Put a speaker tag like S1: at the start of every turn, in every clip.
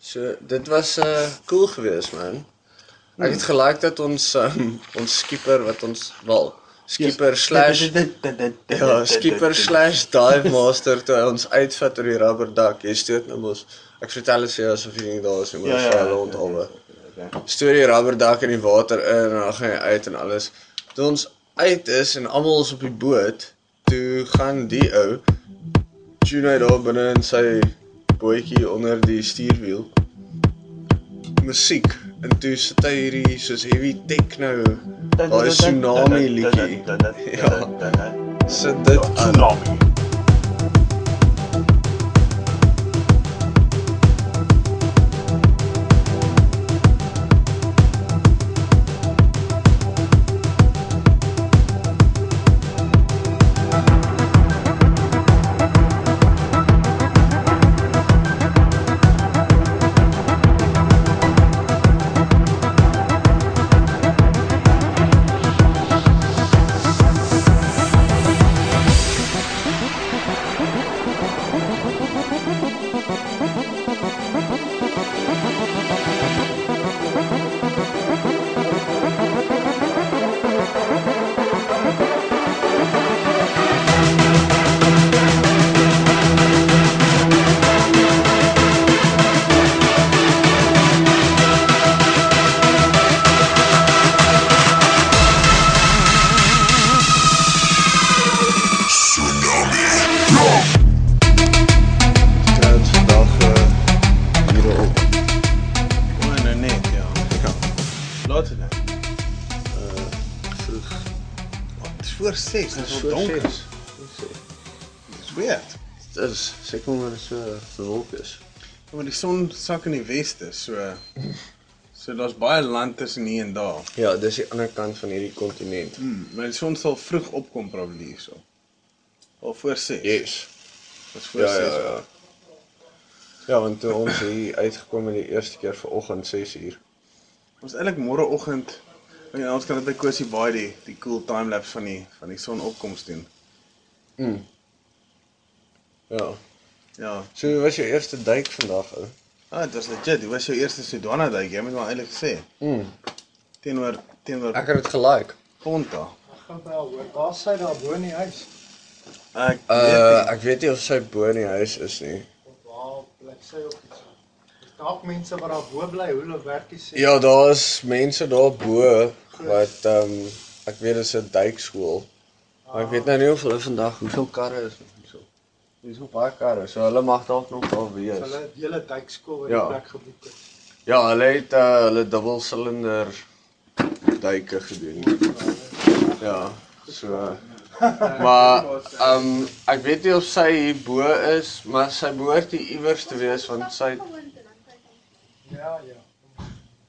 S1: So dit was uh cool geweest man.
S2: Ja.
S1: Ek het gelaik dat ons um, ons skieper wat ons wel skieper slash ja, skieper slash dive master toe hy ons uitvat oor die rubberdak. Jy stoot nou mos. Ek vertel dit vir jou asof jy nie daar is nie, maar
S2: Ja,
S1: ja,
S2: ja,
S1: ja,
S2: ja,
S1: rond
S2: ja,
S1: alwe. Stoor die rubberdak in die water in en dan gaan jy uit en alles. Toe ons uit is en almal is op die boot, toe gaan die ou Juno daar binne in sy bootjie onder die stuurwiel musiek en toe sit hy hierdie soos heavy techno
S2: Oh,
S1: daai tsunami liedjie
S2: Ja.
S1: sit dit aan
S2: Tsunami.
S1: Trout vandag uh, hier op
S2: O, nou net, ja.
S1: ja,
S2: Laat dit nou.
S1: vroeg
S2: Wat is voor 6? Dit is
S1: voor
S2: al donker.
S1: ses.
S2: Dit is weird.
S1: Dit is seker maar dit so bewolk is.
S2: Maar Oh, die son sak in die weste, so so daar's baie land tussen hier en daar.
S1: Ja, dis die ander kant van hierdie kontinent.
S2: Hmm, maar die son sal vroeg opkom probably hierso. Al voor 6.
S1: Yes.
S2: Dis voor
S1: Ja,
S2: 6.
S1: ja, ja. Ja, want toe ons hier uitgekom het die eerste keer vanoggend 6uur.
S2: Ons eintlik môreoggend en ons kan dit by Kosie Baai die die cool time lapse van die van die son opkoms doen.
S1: Mm. Ja.
S2: Ja.
S1: So hoe was jou eerste duik vandag ou?
S2: Ah, dit was legit. Dit was jou eerste Sudwana duik, jy moet maar eintlik sê.
S1: Mm.
S2: Teenoor teenoor
S1: Ek het dit gelike.
S2: Ponta.
S3: Gaan by haar hoor. Waar sy daar bo in die huis.
S2: Ek
S1: Uh ek weet nie of sy bo in die huis is nie.
S3: Of waar bly sy op iets. Dis dalk mense wat daar bo bly, hoe hulle werk is.
S1: Ja, daar's mense daar bo wat ehm um, ek weet dis 'n duikskool. Maar ek weet nou nie of hulle vandag hoeveel karre is of so. Dis nog baie karre, so hulle mag dalk nog daar wees.
S3: Hulle het hele duikskool in
S1: Ja.
S3: ja. die plek geboek. het.
S1: Ja, hulle het uh, hulle dubbelsilinder duike gedoen. Ja, so maar ehm um, ek weet nie of sy hier bo is, maar sy behoort hier iewers te wees want sy het
S3: Ja, ja.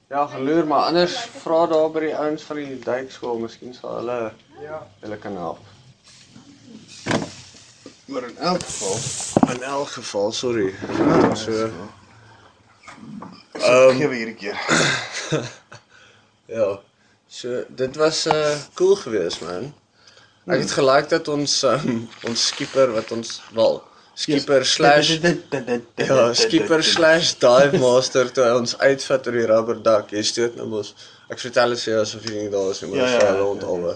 S1: Ja, geloer, maar anders vra daar by die ouens van die duikskool, miskien sal hulle
S3: Ja.
S1: hulle kan help.
S2: maar in elk geval,
S1: In elk geval, Ja, sorry. So,
S2: ek sal
S1: oh.
S2: um, gee
S1: Ähm,
S2: weer hierdie keer.
S1: ja. So dit was uh cool geweest, man. Ek het gelaik dat ons um, ons skieper wat ons wel skieper slash ja, skieper slash dive master toe hy ons uitvat oor die rubberdak. Jy stoot nou mos. Ek vertel dit vir jou asof jy nie daar is nie, maar
S2: Ja,
S1: ons
S2: ja,
S1: val
S2: ja,
S1: rond
S2: ja,
S1: alwe.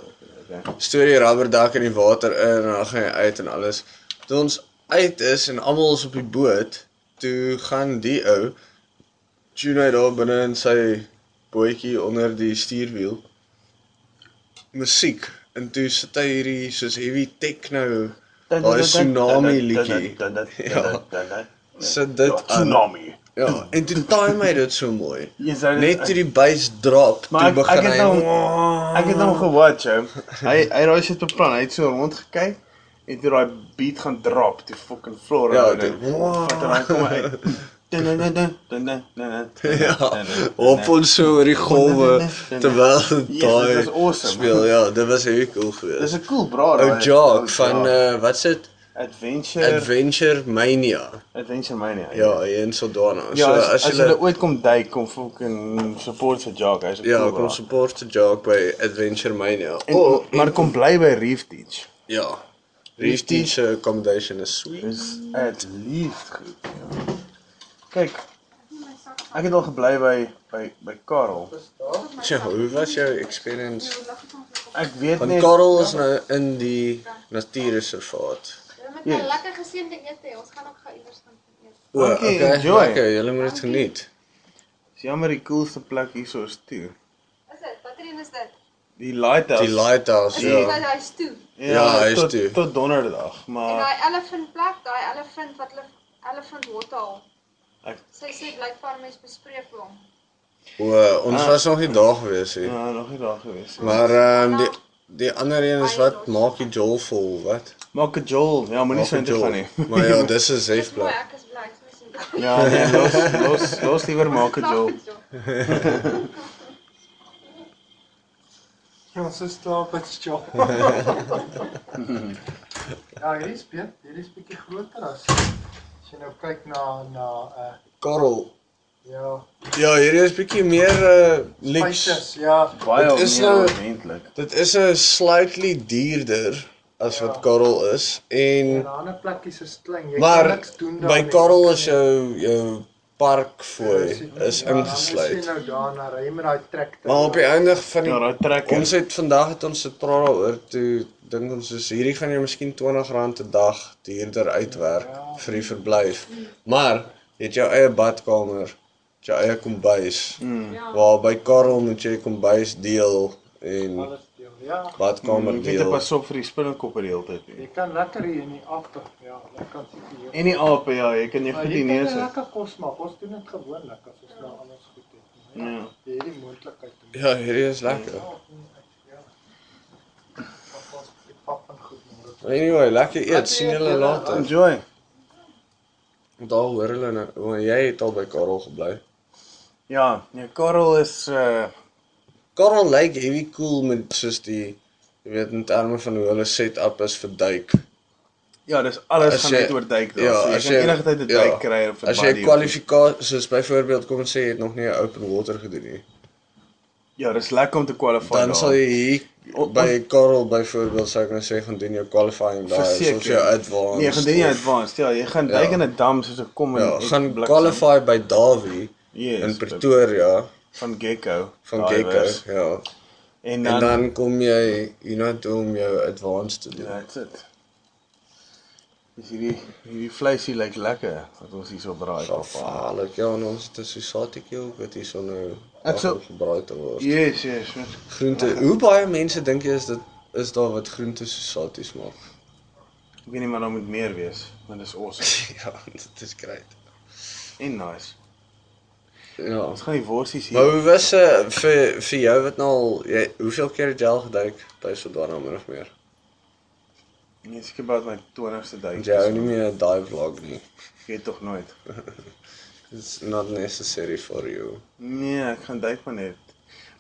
S2: ja.
S1: Stoor die rubberdak in die water in en dan gaan jy uit en alles. Toe ons uit is en almal is op die boot, toe gaan die ou Juno daar binne in sy bootjie onder die stuurwiel musiek en toe sit hy hierdie soos heavy techno daai Oh, tsunami liedjie.
S2: Ja.
S1: Sit dit aan.
S2: tsunami.
S1: Ja, en toe time hy dit so mooi.
S2: Jy sou
S1: Net toe die bass drop, toe
S2: Maar ek- ek
S1: begin
S2: het
S1: hy
S2: hom- Ek het nou- hom gewatch. ou. Hy hy het daai shit beplan. Hy het so rond gekyk en toe daai beat gaan drop to fucking floor.
S1: Ja,
S2: dit.
S1: dit-
S2: Wat dan kom hy. Dun dun dun dun dun dun dun.
S1: Ja,
S2: Nee,
S1: op ons so oor die golwe terwyl
S2: dit
S1: daai
S2: was awesome.
S1: speel. Ja, dit was heel cool
S2: Dis
S1: geweest.
S2: 'n cool bra
S1: Ou Jock van uh, wat se
S2: Adventure
S1: Adventure Mania.
S2: Adventure Mania.
S1: Ja, hier in Sodana.
S2: Ja,
S1: so
S2: as, as jy
S1: hulle
S2: ooit kom duik, kom fucking support vir Jock. Hy's 'n
S1: ja,
S2: cool bra.
S1: kom support te Jock by Adventure Mania.
S2: En,
S1: Oh,
S2: maar kom bly by Reef Teach.
S1: ja. Reef
S2: Teach-
S1: Teach accommodation is sweet.
S2: Dis at least goed. Ja. Kyk, Ek het al gebly by by by Karel.
S3: Verstaan?
S1: Tjoh, hoe was jou experience?
S2: Ek weet
S1: Want
S2: net
S1: Karel is nou in die natuurreservaat.
S4: Ja, met 'n
S2: Yes.
S4: lekker geseënde ete. Ons gaan ook gou iewers gaan eet.
S1: O,
S2: Dankie, enjoy.
S1: Lekker, julle moet dit geniet.
S2: is jammer die coolste plek hierso is toe.
S4: Is dit? Watter een is dit?
S2: Die lighthouse.
S1: Die lighthouse,
S4: Is dit
S1: ja.
S4: wat hy stoel?
S1: Ja, hy is
S2: tot,
S1: toe.
S2: Tot donderdag,
S4: En
S2: maar
S4: daai elephant plek, daai elephant wat hulle elephant water haal.
S2: Ek-
S4: Sy sê blykbaar mense bespreek hom.
S1: O, ons
S2: Ah.
S1: was nog nie daar gewees nie.
S2: ja, nog nie daar gewees nie.
S1: Maar ehm die die ander een is wat maak die jol vol, wat?
S2: Maar Kajol, ja, moenie
S1: Maak
S2: so
S1: die
S2: intoe
S1: jol.
S2: gaan nie.
S1: Maar ja, dis 'n
S4: Dis
S1: safe
S4: mooi,
S1: plek.
S4: ek is bly. Ek is bly.
S2: Ja, nee, los los los liewer maak Kajol.
S3: Ons is klaar met jou. ja, hierdie is beet, hierdie is bietjie groter as as jy nou kyk na na uh
S1: Karel.
S3: ja,
S1: Ja, hierdie is bietjie meer uh luxe.
S3: spices, ja.
S2: Baie
S1: Dit is
S2: meer
S1: nou-
S2: ordentlik.
S1: Dit is 'n slightly duurder as wat Karel is
S3: En
S1: en
S3: ander plekkies is klein. Jy
S1: maar
S3: kan niks doen Ja,
S1: by Karel is jou jou parkfooi is
S3: Ons
S1: ingesluit.
S3: sien nou daarna ry met daai trekker.
S1: Maar op die einde van die
S2: Ja, daai trekker.
S1: Ons het vandag het ons gepraat daaroor toe dink ons soos hierdie gaan jou miskien R20 'n dag duurder uitwerk vir die verblyf. Maar jy het jou eie badkamer, het jou eie kombuis.
S2: Mm.
S4: Ja.
S1: Waar by Karel moet jy kombuis deel en
S3: alles deel. Ja,
S1: badkamer
S2: Hmm, Jy moet
S1: deel.
S2: pas op vir die spinnekoppe die hele tyd. hè.
S3: jy kan lekker hier in die afdag. Ja, jy kan seker hier.
S2: En die ape, ja, jy kan jou
S3: Maar
S2: goed
S3: Oh, jy
S2: die
S3: kan
S2: neus. hou.
S3: lekker kos maak. Ons doen dit gewoonlik as ons nou alles goed het. nie?
S2: Ja.
S3: Jy het die moontlikheid om
S1: Ja, hierdie is lekker. Anyway, lekker eet. sien julle later.
S2: Enjoy.
S1: Daar hoor hulle nou, want jy het al by Karel gebly.
S2: Ja, nee, Karel is uh
S1: Karel lyk heavy cool met soos die jy weet in terme van hoe hulle set-up is vir duik.
S2: ja, dis alles
S1: As
S2: gaan
S1: jy-
S2: net oor duik daar.
S1: ja,
S2: so, jy
S1: as
S2: kan
S1: jy-
S2: enige tyd 'n
S1: ja,
S2: duik kry of 'n
S1: As jy
S2: buddy of-
S1: kwalifikasie soos byvoorbeeld kom ons sê jy het nog nie 'n open water gedoen nie,
S2: Ja, dis lekker om te qualify.
S1: dan
S2: daar.
S1: sal jy hier
S2: On-
S1: by Karel byvoorbeeld sou ek nou sê gaan doen jou qualifying daar,
S2: Verseker.
S1: Nee, soos jou advanced.
S2: Nee, jy gaan doen jy
S1: of-
S2: advanced. Ja, jy gaan
S1: Ja.
S2: duik in 'n dam soos 'n kom en
S1: Ja,
S2: en
S1: gaan
S2: bliksem.
S1: qualify by Dawie
S2: Yes,
S1: in Pretoria
S2: van Gecko.
S1: van
S2: Daai
S1: Gekko,
S2: was.
S1: ja.
S2: En
S1: En
S2: dan, dan
S1: dan kom jy hierna toe om jou advanced te doen. Ja,
S2: that's it. Dis hierdie hierdie vleisie lyk lekker wat ons hierso braai.
S1: Gevaarlik. Ja, en ons het 'n susatiekie ook wat hierso nou
S2: Ek sou-
S1: gebraai te word.
S2: Yes, yes. yes.
S1: Groente. Hoe baie mense dink jy is dit is daar wat groente susaties maak?
S2: Ek weet nie maar daar moet meer wees, want dis awesome
S1: ja, dit is great.
S2: en nice.
S1: Ja.
S2: Ons gaan die worsies
S1: Maar
S2: hier.
S1: hoe was uh, vir vir jou wat nou al jy hoeveel keer het jy al geduik by Sodana min of meer?
S2: Nee, seker about my 20ste duik.
S1: Want jy hou nie meer 'n dive vlog nie.
S2: Jy het tog nooit.
S1: It's not necessary for you.
S2: Nee, ek gaan duik maar net.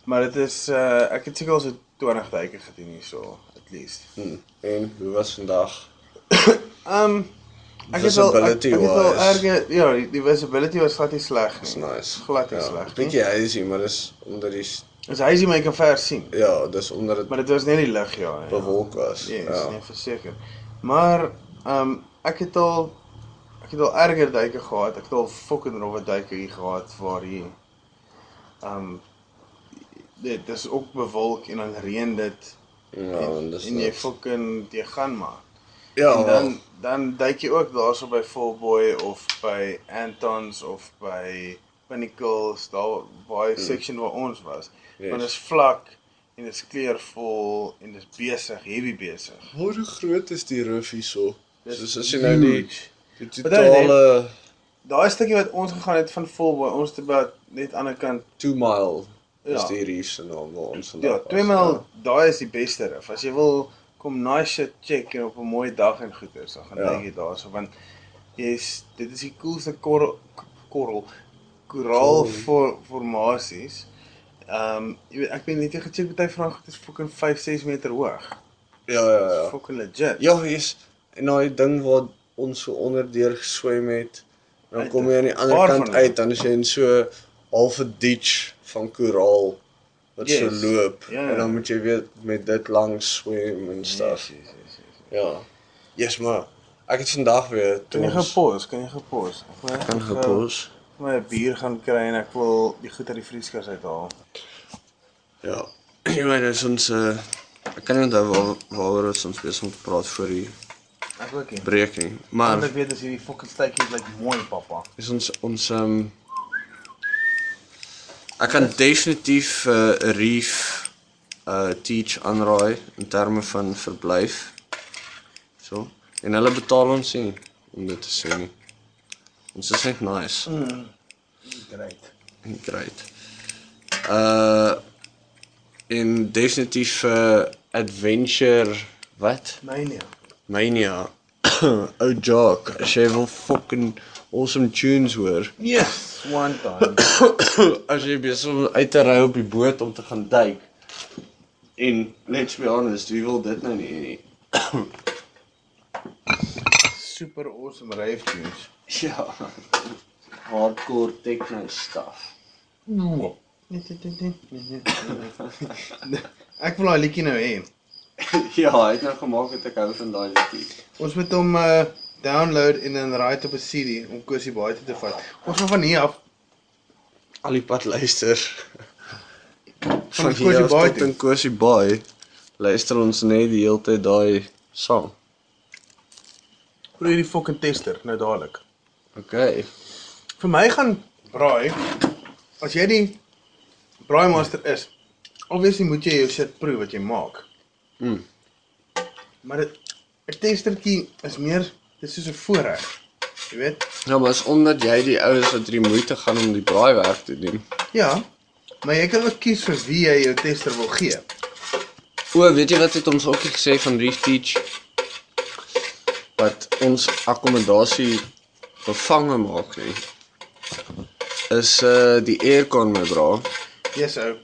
S2: Maar dit is uh ek het seker al so 20 duike gedoen hierso, at least.
S1: Hm. En hoe was vandag?
S2: Um ek het al ek,
S1: Visibility
S2: ek het al
S1: wise.
S2: erge ja, die, die visibility was glad nie sleg
S1: It's
S2: nie.
S1: nice.
S2: Glad nie
S1: ja,
S2: sleg nie.
S1: Bietjie hazy, maar dis omdat die s-
S2: Ons hy sien my kan ver sien,
S1: ja, dis omdat dit
S2: maar dit was net die lig ja. ja.
S1: bewolk was.
S2: Yes, ja.
S1: ja.
S2: nee, verseker. Maar um ek het al ek het al erger duike gehad. Ek het al fucking rowwe duike hier gehad waar hier um dit is ook bewolk en dan reën dit
S1: Ja, en dis
S2: en jy
S1: niks.
S2: fucking jy gaan maar.
S1: Ja,
S2: en dan
S1: dan
S2: dan duik jy ook daarso by Fullboy of by Antons of by Pinnacles, daar baie mm. section waar ons was.
S1: Hmm. Yes.
S2: Yes. Want dit is vlak en dit is kleurvol en dit is besig, heavy besig.
S1: hoe groot is die rif hierso?
S2: Dis
S1: Soos as jy nou die
S2: huge.
S1: die
S2: Wat hy net-
S1: totale
S2: daai stukkie wat ons gegaan het van Fullboy, ons het about net aan die ander kant
S1: 2 mile is
S2: Ja.
S1: die reef se naam waar ons vandag
S2: Ja,
S1: was.
S2: 2 maal daai is die beste rif. As jy wil kom nice shit check en op 'n mooi dag en goeders, dan gaan
S1: Ja.
S2: ja. jy daarso want jy's dit is die coolste korrel korrel koraal
S1: Cool.
S2: for, formasies. Ehm um, jy weet ek weet net jy gecheck baie van dit is fucking 5 6 meter hoog.
S1: Ja, ja,
S2: Ja.
S1: ja.
S2: Fucking legit.
S1: Ja, hier's en daai ding waar ons so onderdeur geswem het. En dan kom jy aan die ander
S2: Paar
S1: kant
S2: van hulle.
S1: uit, dan is jy in so halfe ditch van koraal wat yes.
S2: Yes.
S1: so loop.
S2: Ja,
S1: En
S2: ja.
S1: dan moet jy weet met dit langs swem
S2: Nee,
S1: en stuff.
S2: Yes, yes, yes, yes.
S1: Ja. Yes, maar ek het vandag weer
S2: nee. Kan jy
S1: ons-
S2: gepos? Kan jy gepos? Ek wil net
S1: kan
S2: gou-
S1: gepos.
S2: my 'n bier gaan kry en ek wil die goed uit die vrieskas uithaal.
S1: Ja. Jy weet dis ons uh, ek kan nie onthou waar waaroor ons ons besig om te praat voor die
S2: Ek ook nie.
S1: breek nie.
S2: Want
S1: Maar
S2: ek weet as hierdie fucking steekies lyk like, mooi pappa.
S1: is ons ons um ek kan definitief 'n uh, reef uh teach aanraai in terme van verblyf. So. En hulle betaal ons nie om dit te sê nie. Ons is net nice.
S2: Great.
S1: Great. Uh in definitief uh, adventure wat?
S2: Nee nee.
S1: Mania. Ou Jock, as jy wil fucking awesome tunes hoor.
S2: Yes, one time.
S1: as jy besig om uit te ry op die boot om te gaan duik. En let's be honest, wie wil dit nou nie nie?
S2: Super awesome rave tunes.
S1: Ja. Hardcore techno stuff.
S2: Ek wil daai liedjie nou hê.
S1: ja, hy het nou gemaak dat ek hou van daai liedjie.
S2: Ons moet hom uh download en dan raai op 'n CD om Kosie Baai toe te vat. Ons gaan van hier af
S1: al die pad luister. Van
S2: Kosie
S1: Kosie
S2: Baai
S1: Baai
S2: toe.
S1: tot Kosie Baai luister ons net die hele tyd daai sang.
S2: oor hierdie fucking tester nou dadelik.
S1: Okay.
S2: Vir my gaan braai as jy die braai master is. Obviously moet jy jou shit proe wat jy maak.
S1: Mm.
S2: Maar dit 'n testertjie is meer dit is soos 'n voorreg. Jy weet?
S1: Nou maar is omdat jy die oues wat hierdie moeite gaan om die braaiwerk te doen.
S2: Ja. Maar jy kan ook kies vir wie jy jou tester wil gee.
S1: O, weet jy wat het ons ook gesê van Reef Teach? Wat ons akkommodasie bevange maak nie. Is uh die aircon my bra.
S2: Yes ou.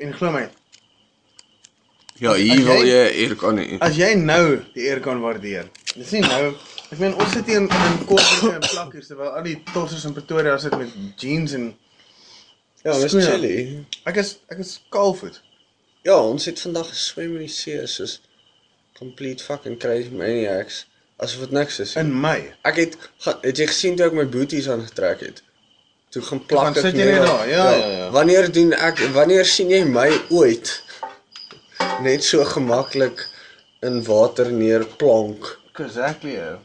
S2: En glo my,
S1: Ja,
S2: As
S1: hier
S2: jy-
S1: wil jy aircon nie.
S2: as jy nou die eer kan waardeer. Dis nie nou Ek meen ons sit hier in in koffie en plakkers terwyl al die tossers in Pretoria sit met jeans en
S1: Ja,
S2: dis
S1: dis
S2: chilly.
S1: chilly.
S2: ek is ek is kaalvoet.
S1: Ja, ons het vandag geswem in die see soos complete fucking crazy maniacs asof dit niks is.
S2: in my.
S1: Ek het gaan het jy gesien toe ek my booties aangetrek het? Toe gaan
S2: Want
S1: plak ek
S2: sit jy net daar, ja, ja, ja.
S1: Wanneer doen ek wanneer sien jy my ooit net so gemaklik in water neerplank?
S2: Exactly. Ou.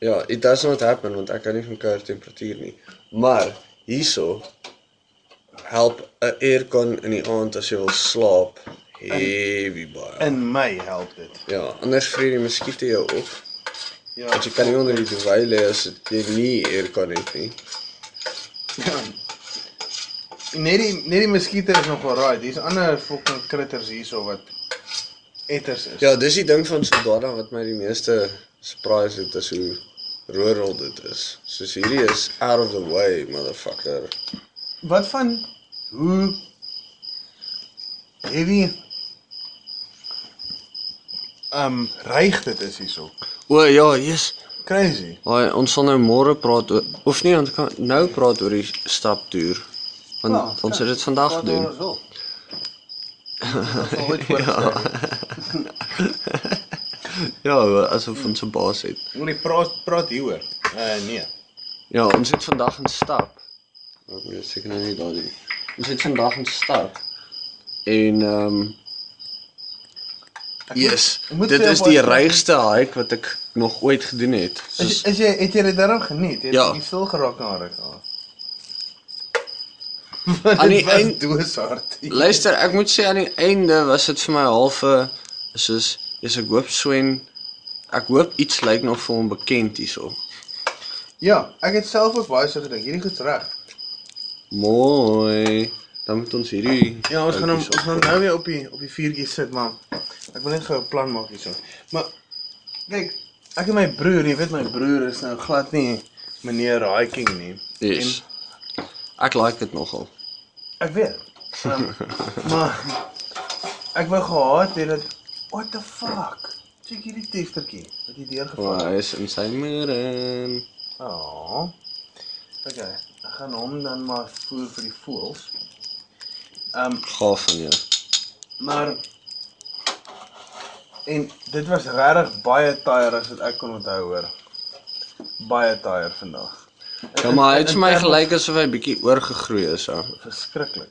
S1: Ja, it does not happen want ek kan nie van koue temperatuur nie. Maar hierso help 'n aircon in die aand as jy wil slaap. Heavy baie.
S2: In my help dit.
S1: Ja, anders vreet die muskiete jou op.
S2: Ja.
S1: Want jy kan nie onder die duwy lê as dit- jy nie aircon het nie.
S2: Ja. Net die net die muskiete is nog wel right. Hier's ander fucking critters hierso wat etters is.
S1: Ja, dis die ding van Sodada wat my die meeste surprise het is hoe rural dit is. Soos hierdie is out of the way, motherfucker.
S2: Wat van hoe heavy um reig dit is hierso.
S1: O ja, yes.
S2: Crazy.
S1: Haai, ons sal nou môre praat oor of nee, ons kan nou praat oor die staptoer. Want ja, ons het dit vandag gedoen.
S2: Ja.
S1: Ja, asof ons 'n baas het.
S2: Moenie praat praat hieroor. Uh nee.
S1: Ja, ons het vandag in stap. Ek moet dit seker nou nie daar doen. Ons het vandag in stap. En ehm um, Yes.
S2: ek moet
S1: Dit
S2: vir jou
S1: is die
S2: baie-
S1: regste hike wat ek nog ooit gedoen het.
S2: Is,
S1: Soos
S2: is jy het jy dit darm geniet? Het
S1: Ja.
S2: jy stil geraak na ruk na?
S1: Aan die eind-
S2: eind dooshard.
S1: luister, ek moet sê aan die einde was dit vir my half 'n soos is ek hoop Swen ek hoop iets lyk nog vir hom bekend hierso.
S2: Ja, ek het self ook baie so gedink. Hierdie goed's reg.
S1: Mooi. Dan moet ons hierdie
S2: Ja, ons gaan hom
S1: houkies
S2: ons gaan nou weer op die op die vuurtjie sit, man. Ek wil net gou 'n plan maak hierso. Maar kyk, ek en my broer, jy weet my broer is nou glad nie meneer hiking nie.
S1: Yes. Ek like dit nogal.
S2: Ek weet. Um, maar ek wou gehad het dat what the fuck. Check hierdie testertjie wat jy deurgeval
S1: Maar
S2: het.
S1: hy is in sy moeder.
S2: Oh. Okay, ek gaan hom dan maar voer vir die voëls. Ehm,
S1: Gaaf van jou.
S2: maar en dit was regtig baie tyre as wat ek kon onthou hoor. Baie tyre vandag.
S1: Ja, maar hy het vir my gelyk asof hy bietjie oorgegroei is. Ja.
S2: Verskriklik.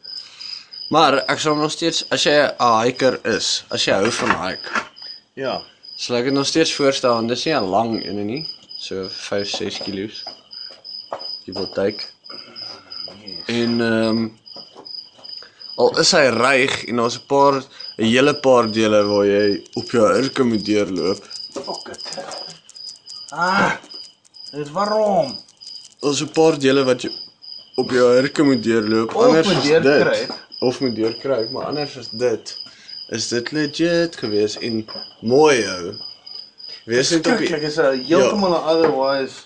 S1: Maar ek sal nog steeds as jy 'n hiker is, as jy hou van hike,
S2: Ja.
S1: sal ek dit nog steeds voorstel en dis nie 'n lang een nie, so 5, 6 kilos. Jy wil duik. En ehm um, al is hy reig en daar's 'n paar 'n hele paar dele waar jy op jou hurke moet deurloop.
S2: Fuck it. Ah. Dit waarom?
S1: Daar's 'n paar dele wat jy op jou hurke moet deurloop,
S2: Of
S1: anders
S2: moet
S1: is dit
S2: deurkruip.
S1: of moet deurkruip, maar anders is dit is dit legit gewees en mooi hou. Wees net op die, Ja.
S2: Verskriklik is 'n heeltemal 'n otherwise.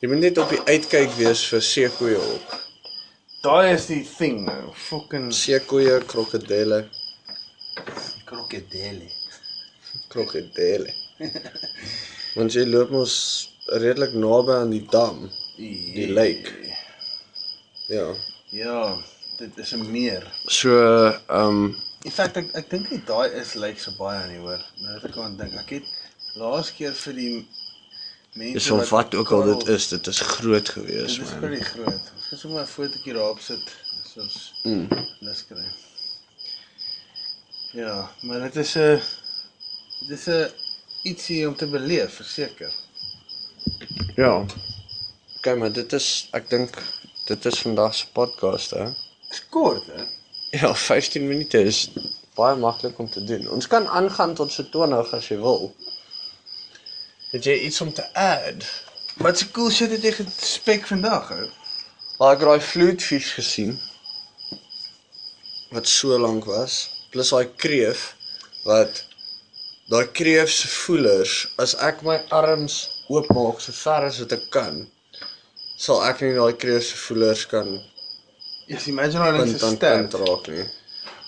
S1: jy moet net op die uitkyk wees vir seekoeie op.
S2: Daai is die thing nou. Fucking
S1: Seekoeie, krokodille,
S5: Krokodille.
S1: krokodille. Want jy loop mos redelik naby aan die dam, die lake. Ja.
S2: Ja, dit is 'n meer.
S1: So, ehm um,
S2: In feite ek, ek dink nie daai is lyk so baie nie hoor. Nou dat ek aan dink, ek het laas keer vir die mense
S1: is of wat ook al dit is, dit is groot
S2: Dit
S1: gewees,
S2: is
S1: man.
S2: pretty groot. Ek gaan sommer 'n fotootjie daarop sit soos
S1: Mm.
S2: lus kry. Ja, maar dit is 'n dit is 'n ietsie om te beleef, verseker.
S1: Ja. Okay, maar dit is ek dink dit is vandag se podcast hè.
S2: Dis kort hè.
S1: Ja, 15 minute is baie maklik om te doen. Ons kan aangaan tot so 20 as jy wil. Het jy iets om te add?
S2: Wat se cool shit het jy gespek vandag hè?
S1: Maar ek het daai vloedvis gesien wat so lank was, plus daai kreef wat daai kreef se voelers as ek my arms oopmaak so ver as wat ek kan, sal ek nie daai kreef se voelers kan
S2: Yes, imagine hulle
S1: punt
S2: is
S1: aan punt
S2: sterk.
S1: raak nie.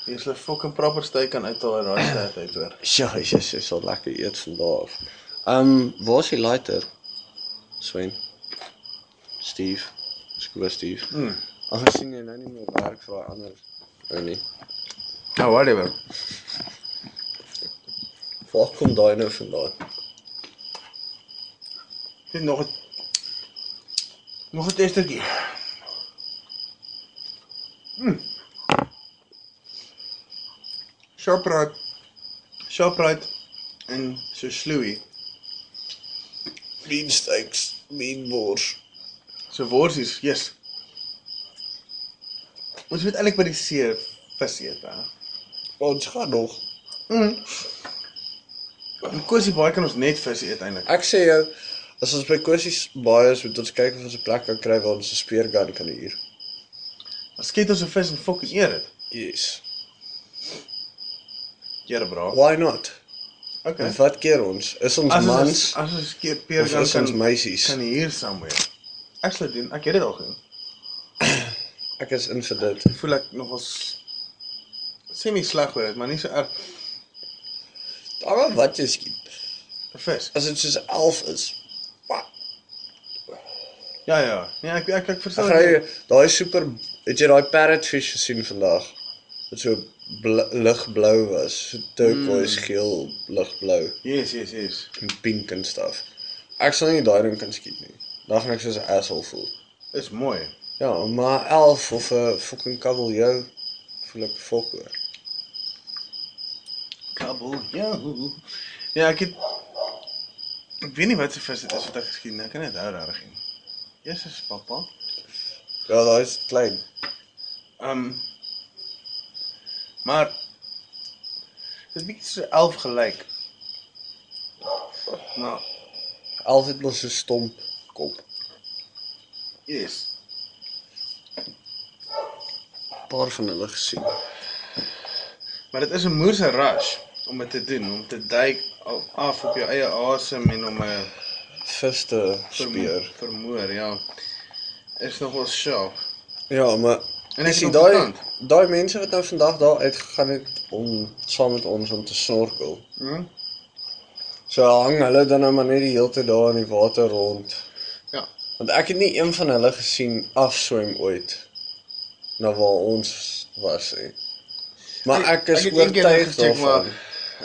S2: Jy's 'n fucking proper steek kan uithaal uit daai sterk uit hoor.
S1: Ja, jy's jy's al lekker eet vandag. Ehm, um, waar's die lighter? Swain. Steve. Scuba Steve.
S2: Mm.
S1: Aangesien jy nou nie meer werk vir daai ander ou nie.
S2: Nou whatever.
S1: Waar kom daai nou vandaan?
S2: Dit nog 'n nog 'n testertjie. Mm. Shoprite. Shoprite en so sloei.
S1: Beansteaks, beanbors.
S2: So worsies, yes. Ons moet eintlik by die see vis eet, hè.
S1: Ons gaan nog.
S2: Mm. In Kosie Baai kan ons net vis eet eintlik.
S1: Ek sê jou as ons by Kossies baie is, moet ons kyk of ons 'n plek kan kry waar ons 'n speergun kan huur.
S2: Ons skiet ons 'n vis en fokus eet dit.
S1: Yes.
S2: Here bra.
S1: Why not?
S2: Okay.
S1: En wat keer ons? Is Ja. ons
S2: As ons
S1: mans?
S2: as ons keer peer
S1: Of
S2: kan
S1: is ons
S2: kan
S1: meisies?
S2: kan hier somewhere. Ek sal dit doen. Ek het dit al gedoen.
S1: Ek is in vir dit.
S2: Ek voel ek nogals semi sleg oor dit, maar nie so erg.
S1: Maar wat jy skiet?
S2: 'n Vis.
S1: As dit soos 11 is. Wat?
S2: Ja ja. Nee, ek ek ek verstaan.
S1: Ek ry daai super het jy daai parrotfish gesien vandag? Wat so bl- ligblou was, so turquoise mm. geel, ligblou
S2: Yes, yes, yes.
S1: en pink en stuff. Ek sal nie daai ding kan skiet nie. Dan gaan ek soos 'n asshole voel.
S2: Is mooi.
S1: Ja, maar 11 of 'n fucking kabeljou voel ek fok oor.
S2: Kabel. Ja. hoe, hoe. Ja, ek het ek weet nie wat se vis dit is wat ek geskiet het. Ek kan dit hou regtig nie. Jesus, pappa.
S1: Ja, daai is klein.
S2: Ehm um, maar dit bietjie so 11 gelyk. Nou,
S1: 11 het mos so stomp kop.
S2: yes.
S1: 'n Paar van hulle gesien.
S2: Maar dit is 'n moerse rush om dit te doen, om te duik af- af op jou eie asem en om 'n
S1: Vis te
S2: vermoor,
S1: speer.
S2: vermoor, ja. Is nogal sharp.
S1: Ja, maar
S2: En
S1: Ek
S2: ek
S1: sien daai daai mense wat nou vandag daar uitgegaan het om saam met ons om te snorkel.
S2: hm?
S1: So hang hulle dan nou maar net die hele tyd daar in die water rond.
S2: Ja.
S1: Want ek het nie een van hulle gesien afswem ooit na waar ons was nie. Maar
S2: Ek-
S1: ek is
S2: ek
S1: ek
S2: het een keer
S1: oortuig
S2: gecheck,
S1: daarvan.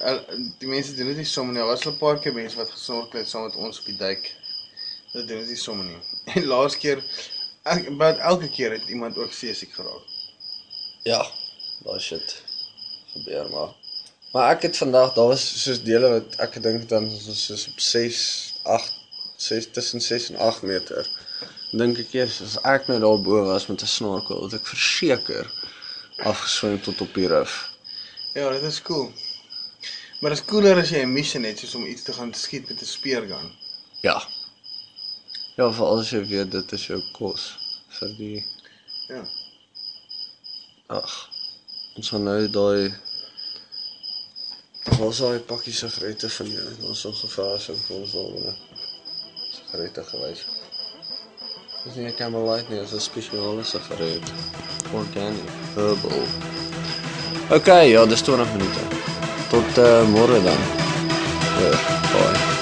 S2: Al- Die mense doen dit nie sommer nie. Daar was al 'n paar keer mense wat gesnorkel het saam met ons op die duik. Dit doen ons nie sommer nie. En laas keer ek maar elke keer het iemand ook seesiek geraak.
S1: Ja, daai shit gebeur maar. Maar ek het vandag, daar was soos dele wat ek gedink het dan was ons soos op 6, 8, 6 tussen 6 en 8 meter. Dink ek eers as ek nou daarbo was met 'n snorkel, het ek verseker afgeswem tot op die rif.
S2: Ja, dit is cool. Maar dit is cooler as jy 'n missie het soos om iets te gaan skiet met 'n speergun.
S1: Ja. Ja, veral as jy weet dit is jou kos vir die
S2: Ja.
S1: Ag. Ons gaan nou daai Ons daai pakkie sigarette van jou. Ons sal gevaar sou vir ons almal. Sigarette gewys. Dis nie 'n Camel Light nie, dis 'n spesiale sigaret. Organic, herbal. eh, Okay, ja, dis 20 minute. Tot uh, môre dan. Ja, bye.